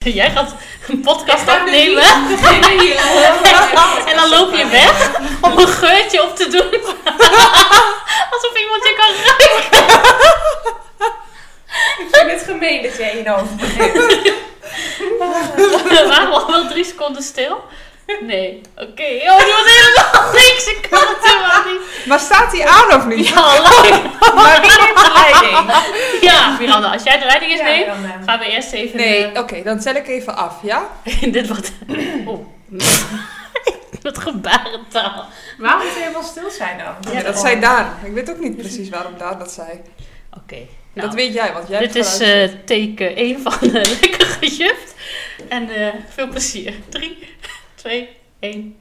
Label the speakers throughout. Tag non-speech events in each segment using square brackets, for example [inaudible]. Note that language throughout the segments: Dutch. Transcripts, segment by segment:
Speaker 1: [laughs] Jij gaat een podcast
Speaker 2: Ik ga nu
Speaker 1: opnemen [laughs] en dan loop je weg om een geurtje op te doen. [laughs] Alsof iemand je kan ruiken.
Speaker 2: Ik vind het gemeen dat jij hierover begint.
Speaker 1: [laughs] We waren al wel drie seconden stil. Nee, oké. Oh, die was helemaal [laughs] niks. Ik kan het helemaal niet.
Speaker 3: Maar staat hij aan of niet?
Speaker 1: Ja, leuk.
Speaker 2: Maar wie heeft de leiding?
Speaker 1: Ja, Miranda, als jij de leiding eens neemt,
Speaker 2: dan, eh,
Speaker 1: gaan we eerst even...
Speaker 3: Nee, oké, dan tel ik even af, ja?
Speaker 1: eh, [laughs] dit wordt... Oh. [laughs] Met gebarentaal.
Speaker 2: Waarom moet je helemaal stil zijn dan?
Speaker 1: Ja,
Speaker 3: dat
Speaker 1: oh.
Speaker 3: zei Daan. Ik weet ook niet precies waarom Daan dat zei.
Speaker 1: Oké.
Speaker 3: dat
Speaker 1: nou.
Speaker 3: weet jij, want jij
Speaker 1: Dit
Speaker 3: hebt
Speaker 1: is
Speaker 3: geluisterd.
Speaker 1: eh, teken 1 van eh, [laughs] Lekker Gejuft. En eh, veel plezier. 3, [laughs] 2, 1.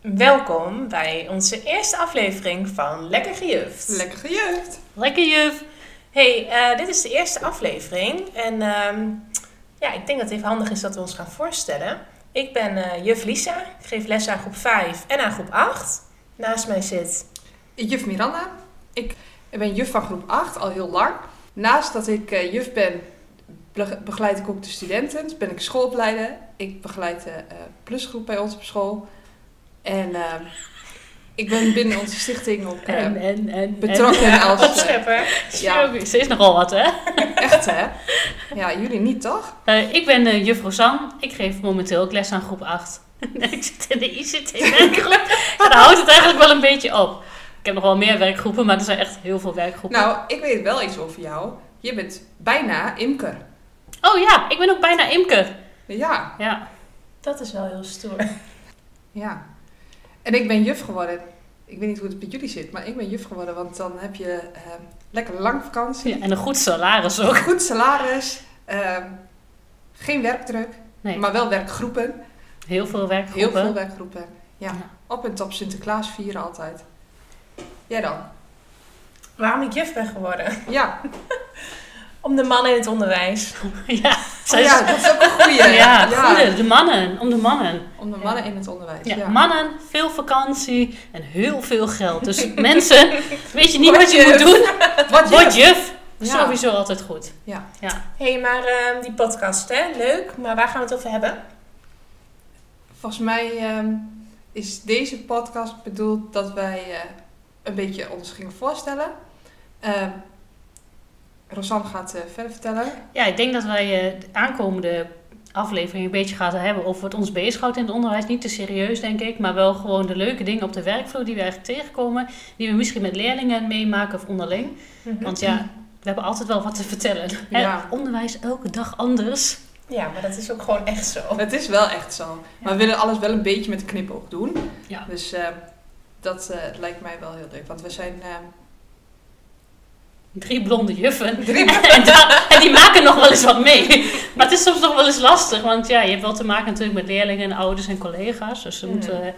Speaker 2: Welkom bij onze eerste aflevering van Lekker Gejuft.
Speaker 1: eh,
Speaker 3: Lekker gejeugd.
Speaker 1: Lekker juf.
Speaker 2: hey, eh, dit is de eerste aflevering. En ehm, ja, ik denk dat het even handig is dat we ons gaan voorstellen. Ik ben eh, juf Lisa. Ik geef les aan groep 5 en aan groep 8. Naast mij zit...
Speaker 3: Juf Miranda. Ik ben juf van groep 8 al heel lang. Naast dat ik eh, juf ben, be- begeleid ik ook de studenten. Dus ben ik schoolopleider. Ik begeleid de eh, plusgroep bij ons op school. En eh, ik ben binnen onze stichting ook eh,
Speaker 1: En, en, en. [laughs]
Speaker 3: betrokken als... eh,
Speaker 2: Opschepper.
Speaker 1: Ja.
Speaker 3: Ja.
Speaker 1: Ze is nogal wat, hè?
Speaker 3: echt, hè? Ja, jullie niet, toch?
Speaker 1: Eh, ik ben eh, juf Rosanne. Ik geef momenteel ook les aan groep 8. [laughs] En ik zit in de [laughs] ICT-werkgroep. en daar houdt het eigenlijk wel een beetje op. Ik heb nog wel meer werkgroepen, maar er zijn echt heel veel werkgroepen.
Speaker 3: Nou, ik weet wel iets over jou. Je bent bijna imker. Nou.
Speaker 1: Oh ja, ik ben ook bijna imker.
Speaker 3: Ja,
Speaker 1: Ja.
Speaker 2: Dat is wel heel stoer.
Speaker 3: ja. En ik ben juf geworden. Ik weet niet hoe het bij jullie zit, maar ik ben juf geworden, want dan heb je ehm, lekker lang vakantie,
Speaker 1: ja. En een goed salaris ook.
Speaker 3: goed salaris, ehm, geen werkdruk,
Speaker 1: Nee.
Speaker 3: maar wel werkgroepen.
Speaker 1: Heel veel werkgroepen.
Speaker 3: Heel veel werkgroepen. Ja.
Speaker 1: Ja.
Speaker 3: Op en top Sinterklaas vieren altijd. Jij dan?
Speaker 2: Waarom ik juf ben geworden?
Speaker 3: Ja,
Speaker 2: Om de mannen in het onderwijs.
Speaker 1: [laughs] Ja,
Speaker 3: Oh
Speaker 1: zij is-
Speaker 3: ja dat is ook een goeie.
Speaker 1: [laughs] ja, goede, de mannen, om de mannen.
Speaker 3: Om de mannen in het onderwijs.
Speaker 1: Ja,
Speaker 3: Ja,
Speaker 1: Mannen, veel vakantie en heel veel geld. Dus [laughs] mensen, weet je niet
Speaker 3: Word
Speaker 1: wat je
Speaker 3: juf.
Speaker 1: moet doen?
Speaker 3: Wat juf.
Speaker 1: Word juf.
Speaker 3: Ja.
Speaker 1: Sowieso altijd goed.
Speaker 3: Ja.
Speaker 1: ja.
Speaker 2: Hé, hey, maar ehm, die podcast, hè? Leuk, maar waar gaan we het over hebben?
Speaker 3: Volgens mij ehm, is deze podcast bedoeld dat wij eh, een beetje ons gingen voorstellen. Ehm Rosanne gaat eh, verder vertellen.
Speaker 1: Ja, ik denk dat wij eh, de aankomende aflevering een beetje gaan hebben over wat ons bezighoudt in het onderwijs. Niet te serieus, denk ik, maar wel gewoon de leuke dingen op de werkvloer die we eigenlijk tegenkomen. Die we misschien met leerlingen meemaken of onderling.
Speaker 2: Mhm.
Speaker 1: Want ja, we hebben altijd wel wat te vertellen. Hè,
Speaker 3: Ja.
Speaker 1: Onderwijs elke dag anders.
Speaker 2: Ja, maar dat is ook gewoon echt zo.
Speaker 1: Oh.
Speaker 3: Het is wel echt zo. Maar we willen alles wel een beetje met een knipoog doen.
Speaker 1: Ja.
Speaker 3: Dus ehm, dat eh, lijkt mij wel heel leuk. Want we zijn ehm,
Speaker 1: Drie blonde juffen.
Speaker 3: drie
Speaker 1: [laughs] en, daar- en die maken nog wel eens wat mee. Maar het is soms nog wel eens lastig. Want ja, je hebt wel te maken natuurlijk met leerlingen en ouders en collega's. Dus ze
Speaker 2: Mm.
Speaker 1: moeten eh,
Speaker 3: Hmm.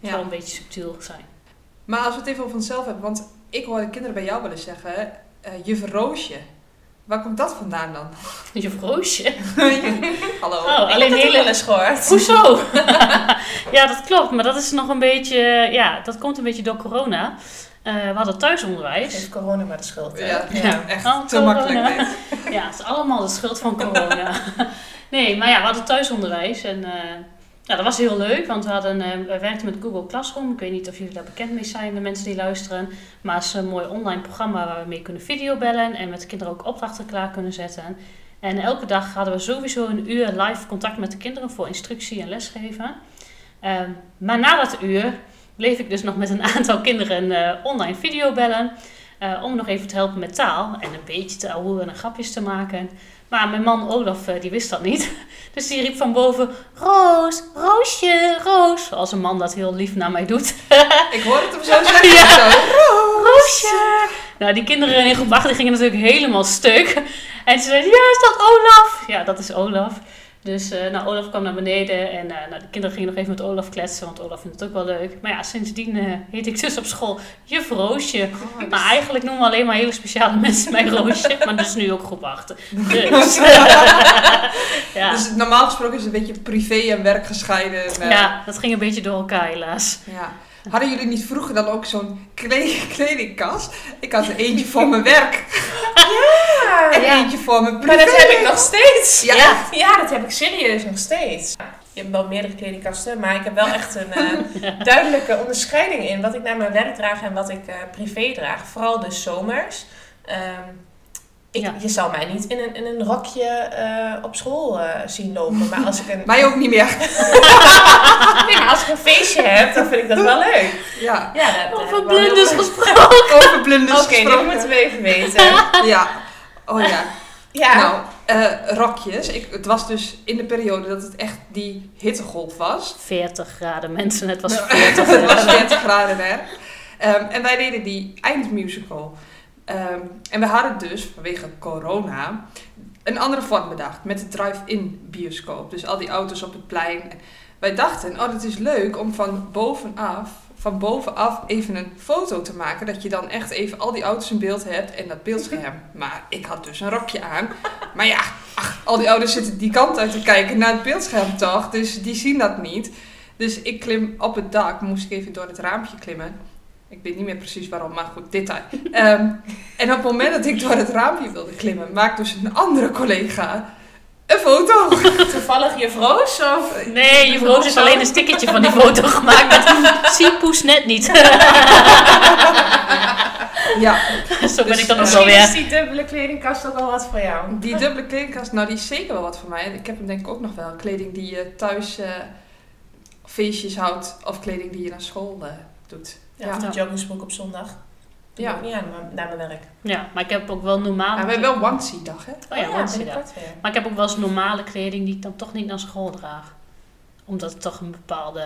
Speaker 3: Ja.
Speaker 1: wel een beetje subtiel zijn.
Speaker 3: Maar als we het even over onszelf hebben, want ik hoorde kinderen bij jou wel eens zeggen, eh juf Roosje. Waar komt dat
Speaker 1: [laughs]
Speaker 3: vandaan dan? [laughs]
Speaker 1: Je oh, roosje.
Speaker 3: Hallo.
Speaker 1: Oh,
Speaker 2: ik heb
Speaker 1: alleen
Speaker 2: dat ook wel
Speaker 1: hele...
Speaker 2: eens
Speaker 1: [laughs]
Speaker 2: gehoord.
Speaker 1: Hoezo? [laughs] ja, dat klopt. Maar dat is nog een beetje... eh, Ja, dat komt een beetje door corona. Eh, we hadden thuisonderwijs.
Speaker 2: Geef corona maar de schuld. hè?
Speaker 3: Ja,
Speaker 1: Ja.
Speaker 3: echt
Speaker 1: Oh,
Speaker 3: te makkelijk
Speaker 1: corona.
Speaker 3: dit.
Speaker 1: [laughs] Ja, het is allemaal de schuld van corona. [laughs] Nee, maar ja, we hadden thuisonderwijs en eh, ja, dat was heel leuk, want we, hadden, eh, we werkten met Google Classroom. Ik weet niet of jullie daar bekend mee zijn, de mensen die luisteren. Maar het is een mooi online programma waar we mee kunnen videobellen en met de kinderen ook opdrachten klaar kunnen zetten. En elke dag hadden we sowieso een uur live contact met de kinderen voor instructie en lesgeven. Ehm, maar na dat uur bleef ik dus nog met een [laughs] aantal kinderen eh, online videobellen. eh, om nog even te helpen met taal en een beetje te ouwen en grapjes te maken. Maar mijn man Olaf, eh, die wist dat niet. [laughs] Dus die riep van boven, Roos, Roosje, Roos. Zoals een man dat heel lief naar mij doet.
Speaker 3: Ik hoor het hem
Speaker 1: [laughs]
Speaker 3: zo zeggen.
Speaker 1: Ja.
Speaker 3: zo.
Speaker 1: Roosje! Nou, die kinderen in groep 8 die gingen natuurlijk helemaal stuk. En ze zeiden, ja, is dat Olaf? Ja, dat is Olaf. Dus eh, nou, Olaf kwam naar beneden en eh, nou, de kinderen gingen nog even met Olaf kletsen, want Olaf vindt het ook wel leuk. Maar ja, sindsdien eh, heet ik dus op school Juf Roosje. Maar eigenlijk noemen alleen maar hele speciale [laughs] mensen mij Roosje, maar dat is nu ook groep 8.
Speaker 3: [laughs]
Speaker 1: Dus, [laughs] ja.
Speaker 3: Dus normaal gesproken is het een beetje privé en werk gescheiden. En, eh,
Speaker 1: ja, dat ging een beetje door elkaar helaas.
Speaker 3: ja. Hadden jullie niet vroeger dan ook zo'n kle- [laughs] kledingkast? Ik had er eentje voor mijn werk
Speaker 2: Oh, Ja.
Speaker 3: en
Speaker 1: Ja.
Speaker 3: eentje voor mijn privé.
Speaker 2: Maar dat heb ik nog steeds.
Speaker 3: Ja.
Speaker 2: [laughs] Ja, dat heb ik serieus nog steeds. Je hebt wel meerdere kledingkasten, maar ik heb wel echt een eh, duidelijke onderscheiding in wat ik naar mijn werk draag en wat ik eh, privé draag. Vooral de zomers. Ehm, ik,
Speaker 1: Ja.
Speaker 2: Je zal mij niet in een, in een rokje eh, op school eh, zien lopen. Maar als ik,
Speaker 3: [laughs]
Speaker 2: een,
Speaker 3: Mij ook niet meer.
Speaker 2: [laughs] Nee, maar als ik een feestje heb, dan vind ik dat wel leuk.
Speaker 3: Ja,
Speaker 2: Ja, dat, eh,
Speaker 1: Over
Speaker 2: wel heel
Speaker 1: blunders
Speaker 2: leuk.
Speaker 1: gesproken.
Speaker 3: over blunders
Speaker 2: Oké, dit
Speaker 3: gesproken.
Speaker 2: moeten we even weten.
Speaker 3: Ja, oh ja.
Speaker 2: Ja,
Speaker 3: Nou, eh, rokjes. Ik, het was dus in de periode dat het echt die hittegolf was.
Speaker 1: 40 graden mensen, het was eh.
Speaker 3: Nou,
Speaker 1: [laughs] 40
Speaker 3: het was
Speaker 1: graden.
Speaker 3: 40 graden daar. Ehm, en wij deden die eindmusical. Ehm, en we hadden dus, vanwege corona, een andere vorm bedacht. Met de drive-in bioscoop. Dus al die auto's op het plein. Wij dachten, oh dat is leuk om van bovenaf, van bovenaf even een foto te maken. Dat je dan echt even al die auto's in beeld hebt en dat beeldscherm. Maar ik had dus een rokje aan. Maar ja, ach, al die ouders zitten die kant uit te kijken naar het beeldscherm toch. Dus die zien dat niet. Dus ik klim op het dak, moest ik even door het raampje klimmen. Ik weet niet meer precies waarom, maar goed, detail. Ehm, en op het moment dat ik door het raampje wilde klimmen, maakt dus een andere collega een foto.
Speaker 2: toevallig juf Roos of...
Speaker 1: Nee, je brood is alleen een stickertje van die foto gemaakt. [laughs] Met, zie poes net niet.
Speaker 3: Ja,
Speaker 1: Zo ben
Speaker 3: Dus,
Speaker 1: ik dan ook
Speaker 3: eh,
Speaker 1: wel
Speaker 2: Misschien is
Speaker 1: weer.
Speaker 2: die dubbele kledingkast ook al wat voor jou.
Speaker 3: die dubbele kledingkast, nou die is zeker wel wat voor mij. Ik heb hem denk ik ook nog wel. Kleding die je thuis eh, feestjes houdt of kleding die je naar school eh, doet.
Speaker 2: Ja,
Speaker 3: Ja.
Speaker 2: Of de joggingsbroek op zondag. Dat
Speaker 3: Ja.
Speaker 2: doe ik niet aan mijn- naar mijn werk.
Speaker 1: Ja, maar ik heb ook wel normaal.
Speaker 3: Maar we hebben wel onesie dag, hè?
Speaker 1: Oh ja, want-
Speaker 2: binnenkort weer.
Speaker 1: Maar ik heb ook wel eens normale kleding die ik dan toch niet naar school draag. Omdat het toch een bepaalde,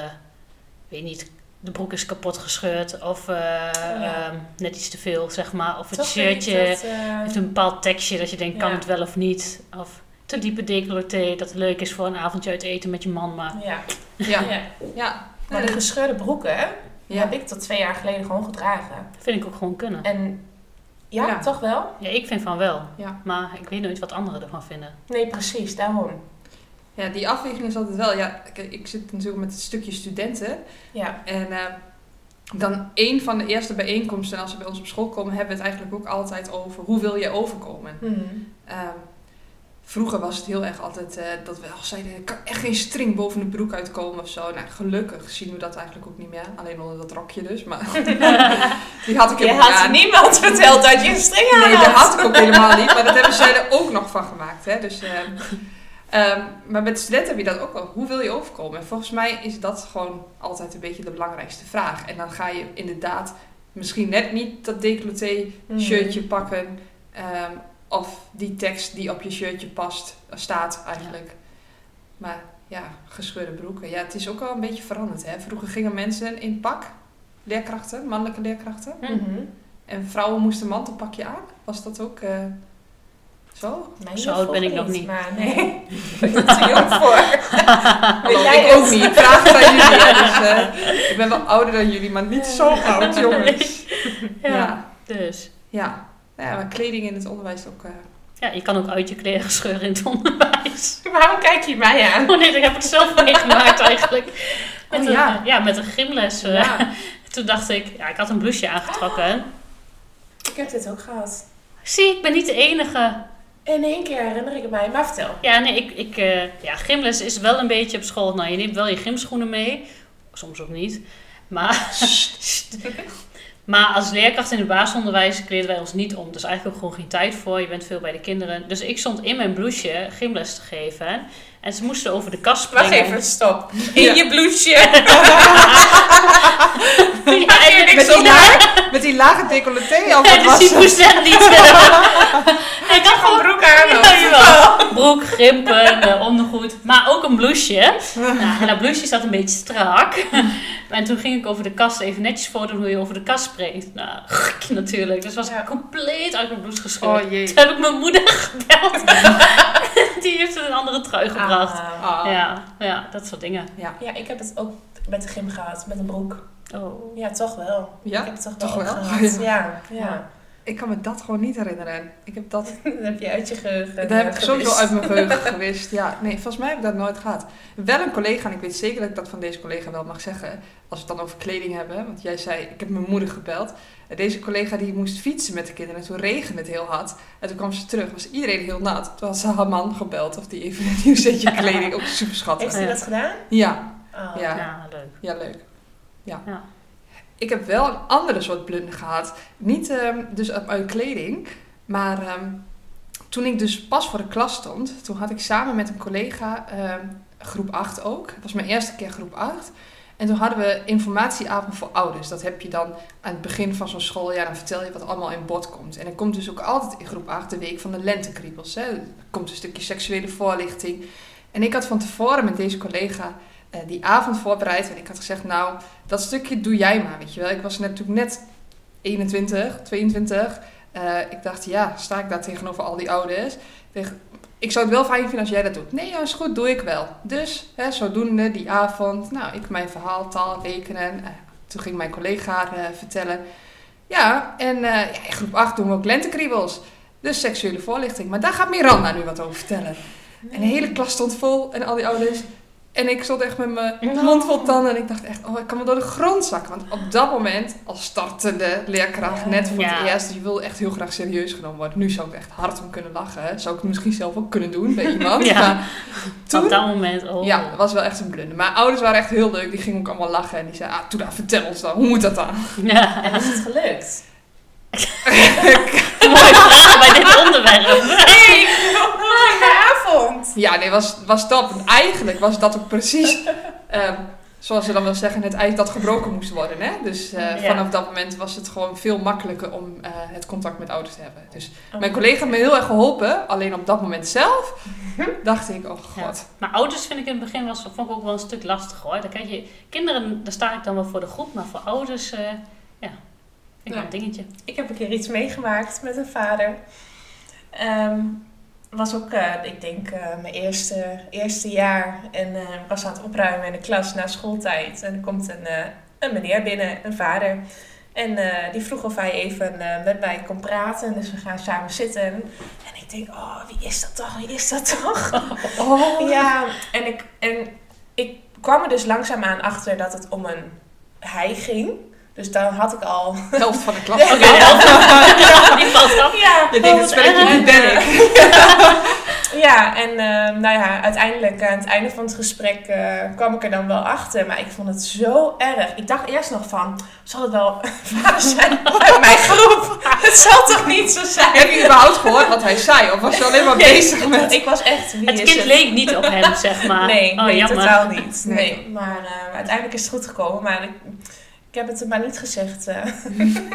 Speaker 1: weet niet, de broek is kapot gescheurd of eh,
Speaker 2: ja.
Speaker 1: ehm, net iets te veel, zeg maar. Of het
Speaker 2: Toch vind ik
Speaker 1: shirtje
Speaker 2: dat, eh,
Speaker 1: heeft een bepaald tekstje dat je denkt, kan
Speaker 2: Ja.
Speaker 1: het wel of niet? Of te diepe decolleté, dat leuk is voor een avondje uit eten met je man, maar...
Speaker 2: ja.
Speaker 3: Ja,
Speaker 2: [laughs] Ja.
Speaker 3: ja.
Speaker 2: Maar de gescheurde broeken hè, die
Speaker 3: ja.
Speaker 2: heb ik tot twee jaar geleden gewoon gedragen.
Speaker 1: Vind ik ook gewoon kunnen.
Speaker 2: En ja,
Speaker 3: Ja.
Speaker 2: toch wel?
Speaker 1: Ja, ik vind van wel.
Speaker 3: Ja.
Speaker 1: Maar ik weet nooit wat anderen ervan vinden.
Speaker 2: Nee, precies, daarom.
Speaker 3: Ja, die afweging is altijd wel. Ja, kijk, ik zit natuurlijk met het stukje studenten.
Speaker 2: Ja,
Speaker 3: En eh, dan één van de eerste bijeenkomsten, als ze bij ons op school komen, hebben we het eigenlijk ook altijd over hoe wil jij overkomen.
Speaker 2: Mhm.
Speaker 3: Ehm, vroeger was het heel erg altijd eh, dat we al zeiden, er kan echt geen string boven de broek uitkomen of zo. Nou, gelukkig zien we dat eigenlijk ook niet meer. Alleen onder dat rokje
Speaker 2: [laughs]
Speaker 3: dus. Maar [laughs] die had ik
Speaker 2: Je
Speaker 3: helemaal
Speaker 2: had
Speaker 3: aan.
Speaker 2: niemand verteld dat je een string aan
Speaker 3: Nee,
Speaker 2: had.
Speaker 3: dat had ik ook helemaal niet. Maar dat hebben zij er ook nog van gemaakt. Hè? Dus, ehm, ehm, maar met studenten heb je dat ook wel. Hoe wil je overkomen? En volgens mij is dat gewoon altijd een beetje de belangrijkste vraag. En dan ga je inderdaad misschien net niet dat decolleté
Speaker 2: Mhm.
Speaker 3: shirtje pakken. ehm, of die tekst die op je shirtje past, staat eigenlijk. Maar ja, gescheurde broeken. Ja, het is ook wel een beetje veranderd. Hè? Vroeger gingen mensen in pak. Leerkrachten, mannelijke leerkrachten.
Speaker 2: Mhm.
Speaker 3: En vrouwen moesten een mantelpakje aan? Was dat ook eh, zo?
Speaker 2: Mijn
Speaker 1: Zo
Speaker 2: juf
Speaker 1: oud ben
Speaker 2: vroeg
Speaker 1: ik nog niet.
Speaker 2: Maar nee, [laughs] ik ben er te jong voor.
Speaker 3: Hallo,
Speaker 2: jij
Speaker 3: ik ook
Speaker 2: het?
Speaker 3: niet. Ik vraag het aan jullie. [laughs] hè, dus, eh, ik ben wel ouder dan jullie, maar niet zo oud, jongens. Ja. Ja.
Speaker 1: Dus.
Speaker 3: ja. Nou ja, maar kleding in het onderwijs ook. eh,
Speaker 1: Ja, je kan ook uit je kleren scheuren in het onderwijs. [laughs]
Speaker 2: Waarom kijk je mij aan?
Speaker 1: Oh nee, ik heb het zelf meegemaakt eigenlijk. Met
Speaker 3: Oh,
Speaker 1: een,
Speaker 3: ja.
Speaker 1: ja, met een gymles. eh.
Speaker 3: ja.
Speaker 1: Toen dacht ik, ja, ik had een blouseje aangetrokken.
Speaker 2: Ik heb dit ook gehad.
Speaker 1: Zie, ik ben niet de enige.
Speaker 2: In één keer herinner ik het mij, maar vertel.
Speaker 1: Ja, nee, ik, ik, eh, ja, gymles is wel een beetje op school. Nou, je neemt wel je gymschoenen mee. Soms ook niet. Maar, [laughs] maar als leerkracht in het basisonderwijs kleden wij ons niet om. Dus eigenlijk ook gewoon geen tijd voor. Je bent veel bij de kinderen. Dus ik stond in mijn blouseje gymles te geven. En ze moesten over de kast springen.
Speaker 2: Wacht even, stop. In
Speaker 3: Ja.
Speaker 2: je
Speaker 1: [laughs]
Speaker 2: blouseje.
Speaker 1: Ja, en
Speaker 2: Niks
Speaker 3: met, die
Speaker 2: om
Speaker 3: laag, met die lage decolleté al wat
Speaker 1: Ja, dus
Speaker 3: was
Speaker 1: die
Speaker 3: het?
Speaker 1: moest net niet. eh, ik had gewoon
Speaker 2: Gewoon broek aan.
Speaker 1: Ja, jawel. broek, grimpen, eh, ondergoed. Maar ook een blouseje. Nou, en dat blouseje zat een beetje strak. en toen ging ik over de kast even netjes voordoen hoe je over de kast springt. Nou, natuurlijk. Dus was
Speaker 2: Ja.
Speaker 1: ik compleet uit mijn blouse gescheurd.
Speaker 3: Oh jee.
Speaker 1: Toen heb ik mijn moeder gebeld. [laughs] die heeft een andere trui gebracht.
Speaker 2: Ah.
Speaker 3: Ah.
Speaker 1: Ja, ja, dat soort dingen.
Speaker 2: Ja, ik heb het ook met de gym gehad, met een broek.
Speaker 1: Oh.
Speaker 2: Ja, toch wel.
Speaker 3: Ja?
Speaker 2: Ik heb het toch,
Speaker 3: Toch
Speaker 2: wel,
Speaker 3: wel? [laughs]
Speaker 2: gehad. Ja, ja. [laughs]
Speaker 3: Ik kan me dat gewoon niet herinneren. Ik heb dat,
Speaker 2: Dat heb je uit je geheugen.
Speaker 3: dat heb ik
Speaker 2: eh,
Speaker 3: sowieso
Speaker 2: gewist.
Speaker 3: uit mijn geheugen gewist. Ja, nee, volgens mij heb ik dat nooit gehad. Wel een collega, en ik weet zeker dat ik dat van deze collega wel mag zeggen. Als we het dan over kleding hebben. Want jij zei, ik heb mijn moeder gebeld. En Deze collega die moest fietsen met de kinderen. Toen regende het heel hard. En toen kwam ze terug. Was iedereen heel nat. Toen had ze haar man gebeld. Of die even een nieuw setje kleding. Ook super
Speaker 2: Heeft
Speaker 3: schattig.
Speaker 2: hij
Speaker 1: Ja.
Speaker 2: dat gedaan?
Speaker 3: Ja,
Speaker 2: Ah.
Speaker 3: Ja.
Speaker 1: Ja, leuk.
Speaker 3: ja leuk. Ja.
Speaker 1: Ja.
Speaker 3: Ik heb wel een andere soort blunder gehad. Niet ehm, dus uit mijn kleding. Maar ehm, toen ik dus pas voor de klas stond. Toen had ik samen met een collega ehm, groep 8 ook. Het was mijn eerste keer groep 8. En toen hadden we informatieavond voor ouders. Dat heb je dan aan het begin van zo'n schooljaar. Dan vertel je wat allemaal in bod komt. En dan komt dus ook altijd in groep 8 de week van de lentekriebels. Hè. Er komt een stukje seksuele voorlichting. En ik had van tevoren met deze collega eh, die avond voorbereid. En ik had gezegd, nou, dat stukje doe jij maar, weet je wel. Ik was natuurlijk net 21, 22. Eh, ik dacht, ja, sta ik daar tegenover al die ouders? Ik dacht, Ik zou het wel fijn vinden als jij dat doet. Nee, ja, is goed, doe ik wel. Dus, hè, zodoende, die avond, nou, ik mijn verhaal, taal, rekenen. Eh, toen ging mijn collega haar, eh, vertellen. Ja, en eh, ja, in groep 8 doen we ook lentekriebels. Dus seksuele voorlichting. Maar daar gaat Miranda nu wat over vertellen. En de hele klas stond vol en al die ouders. En ik stond echt met mijn mond vol tanden. En ik dacht echt, oh, ik kan me door de grond zakken. Want op dat moment, als startende leerkracht,
Speaker 2: Ja.
Speaker 3: net voor het
Speaker 1: Ja.
Speaker 3: eerst, je wil echt heel graag serieus genomen worden. Nu zou ik echt hard om kunnen lachen. Zou ik het misschien zelf ook kunnen
Speaker 1: [laughs]
Speaker 3: doen bij iemand.
Speaker 1: Ja.
Speaker 3: Maar toen,
Speaker 1: Op dat moment, oh.
Speaker 3: Oh, ja, dat was wel echt een blunder. Maar ouders waren echt heel leuk. Die gingen ook allemaal lachen. En die zeiden, ah, doe dat, vertel ons dan. Hoe moet dat dan?
Speaker 1: [laughs] Ja.
Speaker 2: En is het
Speaker 3: [laughs]
Speaker 2: gelukt?
Speaker 1: Mooie vraag bij dit onderwerp.
Speaker 2: Nee, avond.
Speaker 3: Ja, nee, was, was top. En eigenlijk was dat ook precies, ehm, zoals ze dan wel zeggen, het ijs dat gebroken moest worden. Hè? Dus eh,
Speaker 1: Ja.
Speaker 3: vanaf dat moment was het gewoon veel makkelijker om eh, het contact met ouders te hebben. Dus mijn collega heeft me heel erg geholpen. Alleen op dat moment zelf dacht ik, oh god.
Speaker 1: Maar ouders vind ik in het begin was, vond ik ook wel een stuk lastig hoor. Dan krijg je, kinderen, daar sta ik dan wel voor de groep, maar voor ouders, eh, ja, vind ik wel
Speaker 2: Ja.
Speaker 1: een dingetje.
Speaker 2: Ik heb een keer iets meegemaakt met een vader. Ehm, was ook, eh, ik denk, eh, mijn eerste, eerste jaar. En eh, ik was aan het opruimen in de klas na schooltijd. En er komt een, eh, een meneer binnen, een vader. En eh, die vroeg of hij even eh, met mij kon praten. Dus we gaan samen zitten. En ik denk, oh, wie is dat toch? Wie is dat toch?
Speaker 3: Oh,
Speaker 2: [laughs] Ja, en ik, en ik kwam er dus langzaamaan achter dat het om een hij ging. Dus dan had ik al...
Speaker 3: de helft van de klas.
Speaker 1: Oké, de
Speaker 2: [laughs]
Speaker 1: helft. die valt af.
Speaker 2: Ja, [laughs]
Speaker 3: Je denkt, het spelletje, dit ben ik.
Speaker 2: Ja, en eh, nou ja, uiteindelijk aan het einde van het gesprek eh, kwam ik er dan wel achter. Maar ik vond het zo erg. Ik dacht eerst nog van, zal het wel [laughs] vader zijn uit mijn groep? Het zal toch niet zo zijn?
Speaker 3: Heb je überhaupt gehoord wat hij zei? Of was je alleen
Speaker 2: [laughs]
Speaker 3: maar bezig met...
Speaker 2: Ik was echt, wie
Speaker 1: Het
Speaker 2: is
Speaker 1: kind
Speaker 2: het?
Speaker 1: leek niet op hem, zeg maar.
Speaker 2: Nee,
Speaker 1: oh,
Speaker 2: nee
Speaker 1: jammer.
Speaker 2: totaal niet. Nee.
Speaker 3: Nee.
Speaker 2: Maar eh, uiteindelijk is het goed gekomen. Maar ik, ik heb het er maar niet gezegd. eh.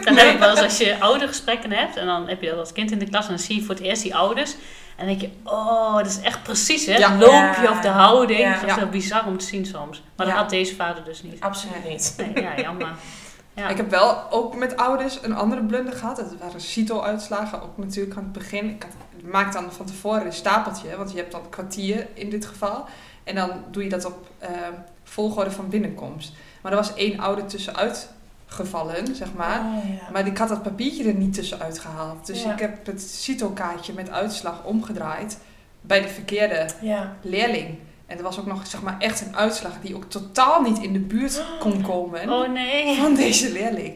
Speaker 1: Dan heb ik wel eens als je oudergesprekken hebt en dan heb je dat als kind in de klas en dan zie je voor het eerst die ouders. En dan denk je, oh, dat is echt precies hè,
Speaker 3: Ja.
Speaker 1: het loopje
Speaker 2: Ja.
Speaker 1: of de houding.
Speaker 2: Ja.
Speaker 1: Dat is
Speaker 3: Ja.
Speaker 1: wel bizar om te zien soms. Maar
Speaker 2: Ja.
Speaker 1: dat had deze vader dus niet.
Speaker 2: Absoluut niet.
Speaker 1: Nee, ja, jammer.
Speaker 2: [laughs]
Speaker 1: Ja.
Speaker 3: Ik heb wel ook met ouders een andere blunder gehad. Dat waren CITO-uitslagen, ook natuurlijk aan het begin. Ik had- maak dan van tevoren een stapeltje, want je hebt dan een kwartier in dit geval. En dan doe je dat op eh, volgorde van binnenkomst. Maar er was één ouder tussenuit gevallen, zeg maar.
Speaker 2: Oh, ja.
Speaker 3: Maar ik had dat papiertje er niet tussenuit gehaald. Dus
Speaker 2: Ja.
Speaker 3: ik heb het CITO-kaartje met uitslag omgedraaid bij de verkeerde
Speaker 2: ja.
Speaker 3: leerling. En er was ook nog zeg maar, echt een uitslag die ook totaal niet in de
Speaker 1: [gasps]
Speaker 3: buurt kon komen
Speaker 1: Oh nee.
Speaker 3: van deze leerling.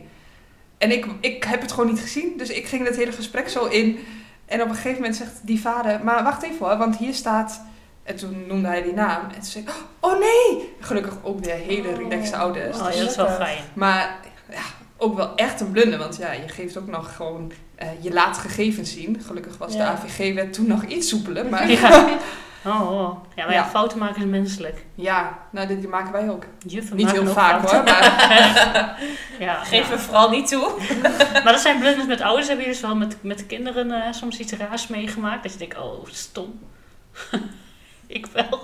Speaker 3: En ik, ik heb het gewoon niet gezien, dus ik ging dat hele gesprek zo in. En op een gegeven moment zegt die vader, maar wacht even hoor, want hier staat... En toen noemde hij die naam. En toen zei ik, oh nee! Gelukkig ook weer hele
Speaker 2: Oh.
Speaker 3: relaxte ouders. Dus
Speaker 1: Oh, ja, dat is wel fijn.
Speaker 3: Maar ja, ook wel echt een blunder, want ja, je geeft ook nog gewoon... eh, je laat gegevens zien. Gelukkig was
Speaker 2: Ja.
Speaker 3: de AVG-wet toen nog iets soepeler. Maar [laughs] ja,
Speaker 1: Ja. Oh, oh. ja, maar ja,
Speaker 3: Ja.
Speaker 1: fouten maken is menselijk.
Speaker 3: nou, dit- die maken wij ook.
Speaker 1: Juffen
Speaker 3: niet
Speaker 1: maken
Speaker 3: heel
Speaker 1: ook
Speaker 3: vaak
Speaker 1: fouten.
Speaker 3: hoor,
Speaker 1: [laughs]
Speaker 3: maar
Speaker 1: Ja,
Speaker 2: Geef
Speaker 1: ja.
Speaker 2: me vooral niet toe.
Speaker 1: Maar dat zijn blunders met ouders. Hebben jullie dus wel met, met kinderen eh, soms iets raars meegemaakt? Dat je denkt, oh, stom. [laughs] ik wel.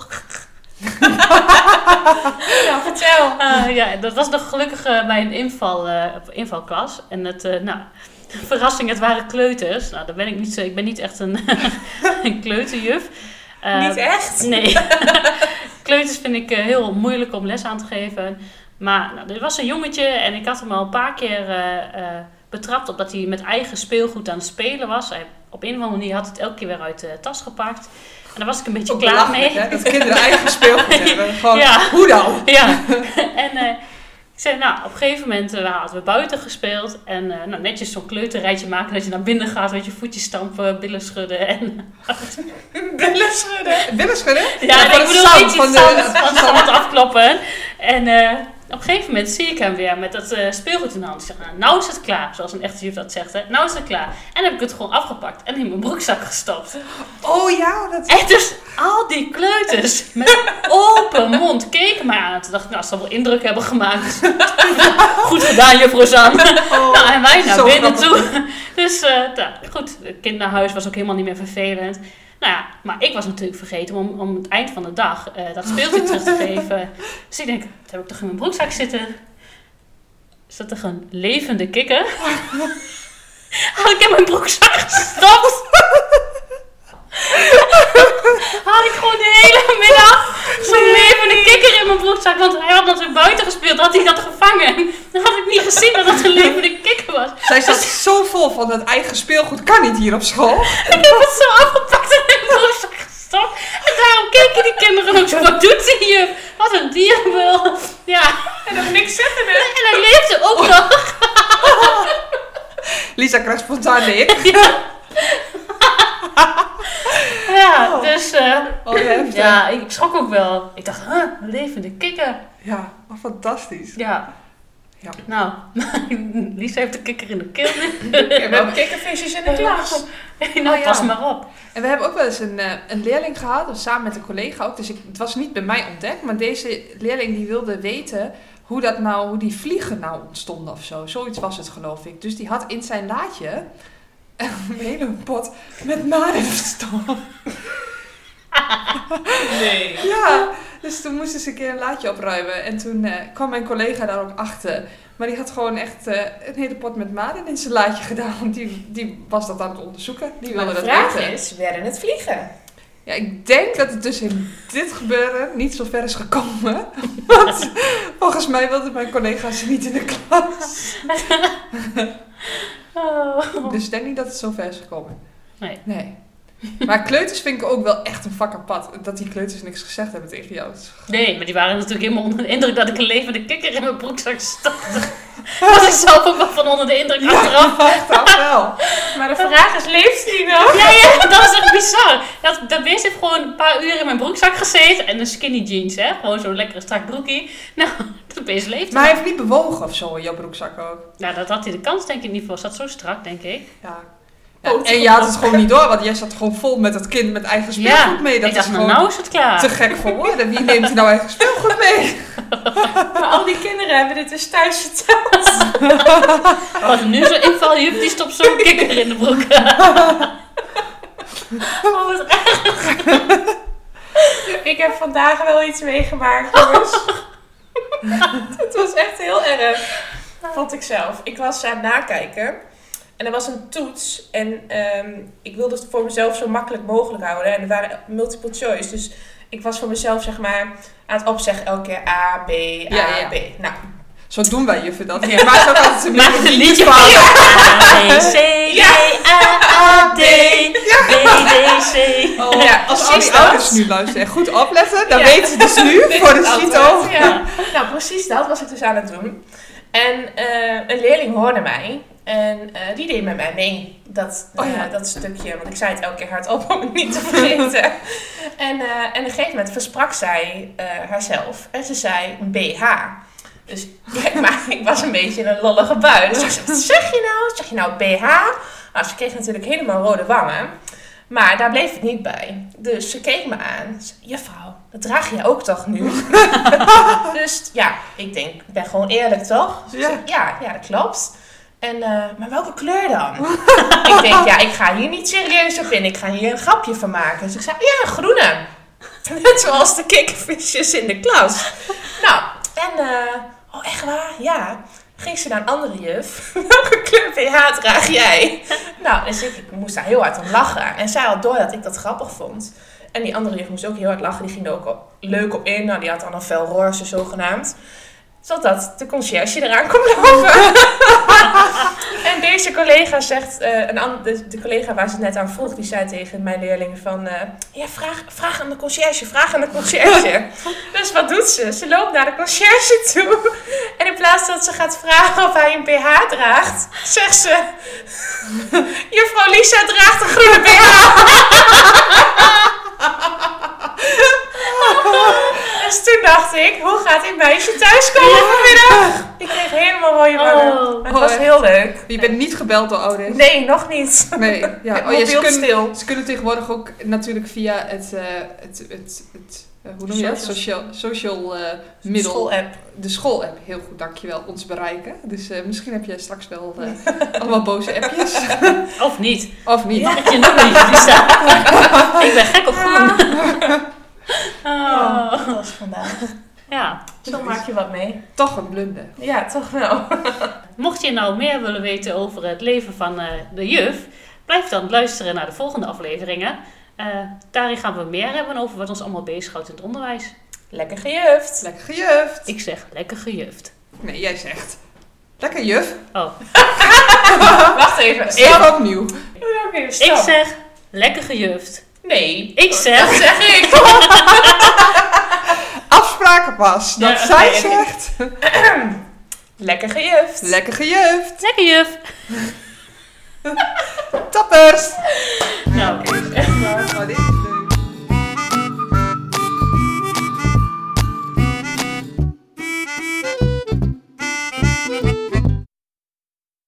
Speaker 2: Nou, vertel.
Speaker 1: Eh, [laughs] ja, dat was nog gelukkig eh, bij een inval, eh, invalklas. En het, eh, nou, [laughs] [laughs] verrassing, het waren kleuters. Nou, daar ben ik niet zo, ik ben niet echt een, een kleuterjuf. Eh, Eh,
Speaker 2: Niet echt?
Speaker 1: [laughs] Nee. Kleuters vind ik eh, heel moeilijk om les aan te geven. Maar nou, er was een jongetje en ik had hem al een paar keer eh, eh, betrapt op dat hij met eigen speelgoed aan het spelen was. Hij, op een of andere manier had het elke keer weer uit de tas gepakt. En daar was ik een beetje
Speaker 3: Ook
Speaker 1: klaar
Speaker 3: Oh, belachelijk,
Speaker 1: mee.
Speaker 3: Hè? Dat kinderen
Speaker 1: [laughs]
Speaker 3: eigen speelgoed hebben. Gewoon,
Speaker 1: Ja.
Speaker 3: hoe dan?
Speaker 1: [laughs] Ja, en eh, ik zei, nou, op een gegeven moment eh, hadden we buiten gespeeld. En eh, nou, netjes zo'n kleuterrijtje maken dat je naar binnen gaat, weet je, voetjes stampen, billen schudden. En,
Speaker 2: Billen schudden.
Speaker 3: Billen schudden?
Speaker 1: ja, en
Speaker 3: van
Speaker 1: ik
Speaker 3: het
Speaker 1: bedoel,
Speaker 3: zand,
Speaker 1: weet je,
Speaker 3: van
Speaker 1: van
Speaker 3: de-
Speaker 1: van het zand afkloppen. En eh, op een gegeven moment zie ik hem weer met dat eh, speelgoed in de hand. Ik zeg, nou, nou is het klaar, zoals een echte juf dat zegt, hè. Nou is het klaar. En heb ik het gewoon afgepakt en in mijn broekzak gestopt.
Speaker 3: Oh ja, dat
Speaker 1: En dus al die kleuters met open mond keken mij aan. Toen dacht ik, nou, ze zal wel indruk hebben gemaakt. [laughs] Goed gedaan, juffrouw Sam.
Speaker 3: oh,
Speaker 1: Nou, en wij
Speaker 3: zo
Speaker 1: naar binnen
Speaker 3: grappig.
Speaker 1: toe. Dus eh, nou, goed, het kind naar huis was ook helemaal niet meer vervelend. Nou ja, maar ik was natuurlijk vergeten om, om het eind van de dag eh, dat speeltje terug te geven. Dus ik denk, dat heb ik toch in mijn broekzak zitten. Is dat toch een levende kikker?
Speaker 3: [laughs]
Speaker 1: Had ik in mijn broekzak gestopt? Had ik gewoon de hele middag zo'n levende kikker in mijn broekzak. Want hij had natuurlijk buiten gespeeld, had hij dat gevangen. Dan had ik niet gezien dat dat een levende kikker was.
Speaker 3: Zij
Speaker 1: [laughs]
Speaker 3: zat zo vol van dat eigen speelgoed. Kan niet hier op school.
Speaker 1: Ik heb het zo afgepakt en in mijn broekzak gestopt. En daarom keken die kinderen ook zo, wat doet die juf? Wat een dierenbul. Ja,
Speaker 2: En dan niks zeggen we.
Speaker 1: en hij leefde ook nog.
Speaker 3: Lisa krijgt spontaan de ik.
Speaker 1: Ja, dus... eh,
Speaker 3: Oh, heftig. ja.
Speaker 1: ja, ik, ik schrok ook wel. Ik dacht, huh, een levende kikker.
Speaker 3: ja, wat fantastisch.
Speaker 1: Ja.
Speaker 3: Ja.
Speaker 1: Nou, [laughs] Lisa heeft de kikker in de keel nu.
Speaker 2: We hebben kikkervisjes in de klas.
Speaker 1: nou,
Speaker 3: Oh ja.
Speaker 1: pas maar op.
Speaker 3: En we hebben ook wel eens een, eh, een leerling gehad, of samen met een collega ook. Dus ik, het was niet bij mij ontdekt, maar deze leerling die wilde weten hoe, dat nou, hoe die vliegen nou ontstonden of zo. Zoiets was het geloof ik. Dus die had in zijn laadje een hele pot met marenstof.
Speaker 2: Nee.
Speaker 3: Ja, dus toen moesten ze een keer een laadje opruimen. En toen eh, kwam mijn collega daar ook achter. Maar die had gewoon echt eh, een hele pot met maden in zijn laadje gedaan. Want die, die was dat aan het onderzoeken. Die
Speaker 2: Maar
Speaker 3: wilde
Speaker 2: de
Speaker 3: dat
Speaker 2: vraag
Speaker 3: weten.
Speaker 2: is, werden het vliegen?
Speaker 3: Ja, ik denk dat het dus in dit gebeuren niet zo ver is gekomen. [laughs] Want volgens mij wilden mijn collega's niet in de klas.
Speaker 1: Oh.
Speaker 3: Dus ik denk niet dat het zo ver is gekomen.
Speaker 1: Nee.
Speaker 3: Nee. Maar kleuters vind ik ook wel echt een vak apart. Dat die kleuters niks gezegd hebben tegen jou. Dat is-
Speaker 1: Nee, maar die waren natuurlijk helemaal onder de indruk dat ik een levende kikker in mijn broekzak [laughs] stopte. Was ik zelf ook wel van onder de indruk achteraf.
Speaker 3: Achteraf wel.
Speaker 2: Maar de vraag is, leeft die nog?
Speaker 1: Ja, ja, dat is echt bizar. Dat, dat beest heeft gewoon een paar uur in mijn broekzak gezeten. En een skinny jeans, hè. Gewoon zo'n lekkere strak broekie. [laughs] Nou, dat beest leeft.
Speaker 3: Maar hij heeft niet bewogen of zo in jouw broekzak ook.
Speaker 1: Nou, dat had hij de kans denk ik niet voor. Zat zo strak, denk ik.
Speaker 3: Ja. Ja,
Speaker 2: Oh,
Speaker 3: en je had het gewoon niet door, want jij zat gewoon vol met dat kind met eigen speelgoed
Speaker 1: Ja,
Speaker 3: mee. Dat
Speaker 1: ik dacht,
Speaker 3: is
Speaker 1: nou,
Speaker 3: gewoon
Speaker 1: nou is het klaar.
Speaker 3: te gek voor woorden. Wie neemt er nou eigen speelgoed mee?
Speaker 2: Maar al die kinderen hebben dit dus thuis verteld.
Speaker 1: Wat Oh, nu zo'n inval, juf, die stopt zo'n kikker in de broek.
Speaker 2: Oh, wat erg. Ik heb vandaag wel iets meegemaakt, jongens. Het was echt heel erg. Vond ik zelf. Ik was aan het nakijken. En er was een toets. En ehm, ik wilde het voor mezelf zo makkelijk mogelijk houden. En er waren multiple choice. Dus ik was voor mezelf, zeg maar, aan het opzeggen elke keer A, B, A,
Speaker 3: Ja, ja.
Speaker 2: B. Nou,
Speaker 3: Zo doen wij juffen dat. Je maakt ook
Speaker 1: [laughs]
Speaker 3: altijd een
Speaker 1: Maak een liedje van. A, B, C, D, A, A, D, B, D, C.
Speaker 3: Oh,
Speaker 2: Ja,
Speaker 3: als al
Speaker 2: precies
Speaker 3: die
Speaker 2: dat.
Speaker 3: ouders nu luisteren en goed opletten, dan
Speaker 2: Ja.
Speaker 3: weten ze dus nu voor de
Speaker 2: Dit is
Speaker 3: CITO.
Speaker 2: altijd, Ja. Nou, precies dat was ik dus aan het doen. En eh, een leerling hoorde mij. En eh, die deed met mij mee. Dat, eh,
Speaker 3: Oh ja.
Speaker 2: dat stukje. Want ik zei het elke keer hardop om het niet te
Speaker 3: [laughs]
Speaker 2: vergeten. en, eh, en op een gegeven moment versprak zij eh, haarzelf. En ze zei BH. Dus kijk maar, [laughs] ik was een beetje in een lollige bui. Dus ik zei, wat zeg je nou? Zeg je nou BH? Nou, ze kreeg natuurlijk helemaal rode wangen. Maar daar bleef het niet bij. Dus ze keek me aan. Ze zei, Juffrouw, dat draag je ook toch
Speaker 3: [laughs]
Speaker 2: nu? dus ja, ik denk, ik ben gewoon eerlijk toch? Ze
Speaker 3: Ja.
Speaker 2: zei, ja, ja, dat klopt. En, eh, maar welke kleur dan? ik denk, ja, ik ga hier niet serieus op in. Ik ga hier een grapje van maken. Dus ik zei, ja, groene. [laughs] Net zoals de kikkervisjes in de klas. Nou, en, eh, oh echt waar? Ja. Ging ze naar een andere juf. [laughs] Welke kleur BH draag jij? Nou, dus ik, ik moest daar heel hard om lachen. En zij had door dat ik dat grappig vond. En die andere juf moest ook heel hard lachen. Die ging er ook op- leuk op in. Nou, die had dan een fel roze zogenaamd. Totdat de conciërge eraan komt lopen. en deze collega zegt, eh, een an- de, de collega waar ze net aan vroeg, die zei tegen mijn leerlingen van... eh, ja, vraag, vraag aan de conciërge, vraag aan de conciërge. dus wat doet ze? Ze loopt naar de conciërge toe. En in plaats dat ze gaat vragen of hij een BH draagt, zegt ze... [laughs] Juffrouw Lisa draagt een groene BH. [laughs] dus toen dacht ik, hoe gaat dit meisje thuiskomen vanmiddag? Ik kreeg helemaal mooie wangen.
Speaker 1: Oh.
Speaker 2: Maar het was heel leuk.
Speaker 3: Je bent niet gebeld door ouders.
Speaker 2: Nee, nog niet.
Speaker 3: Nee, ja.
Speaker 2: Het
Speaker 3: Oh, ja, ze,
Speaker 2: mobiel
Speaker 3: kunnen,
Speaker 2: stil.
Speaker 3: ze kunnen tegenwoordig ook natuurlijk via het, eh, het, het, het eh, hoe noem je dat?
Speaker 2: Social.
Speaker 3: Social, social eh, middel.
Speaker 2: School-app.
Speaker 3: De school-app, heel goed, dankjewel, ons bereiken. Dus eh, misschien heb je straks wel eh, [laughs] allemaal boze appjes.
Speaker 1: Of niet.
Speaker 3: of niet.
Speaker 1: Ja. Dat je nog niet Lisa. Ik ben gek op groen.
Speaker 2: Ja,
Speaker 1: [laughs] Oh.
Speaker 2: dat was vandaag.
Speaker 1: Ja.
Speaker 2: Zo maak je wat mee.
Speaker 3: Toch een blunder.
Speaker 2: Ja, toch wel.
Speaker 1: Mocht je nou meer willen weten over het leven van eh, de juf, blijf dan luisteren naar de volgende afleveringen. Eh, daarin gaan we meer hebben over wat ons allemaal bezighoudt in het onderwijs.
Speaker 2: Lekker gejuft.
Speaker 3: Lekker gejuft.
Speaker 1: Ik zeg lekker gejuft.
Speaker 3: Nee, jij zegt. Lekker juf.
Speaker 1: Oh,
Speaker 2: Wacht even. Stop.
Speaker 3: Even opnieuw.
Speaker 2: Oké,
Speaker 1: ik
Speaker 2: stop.
Speaker 1: zeg lekker gejuft.
Speaker 2: Nee.
Speaker 1: Ik zeg.
Speaker 2: Zeg ik.
Speaker 3: Afspraken pas. Dat
Speaker 1: Ja,
Speaker 3: zij
Speaker 2: oké.
Speaker 3: zegt.
Speaker 2: [laughs] Lekker gejuft.
Speaker 3: Lekker gejuft.
Speaker 1: Lekker juf.
Speaker 3: Toppers.
Speaker 1: Nou.
Speaker 3: Echt waar. maar dit-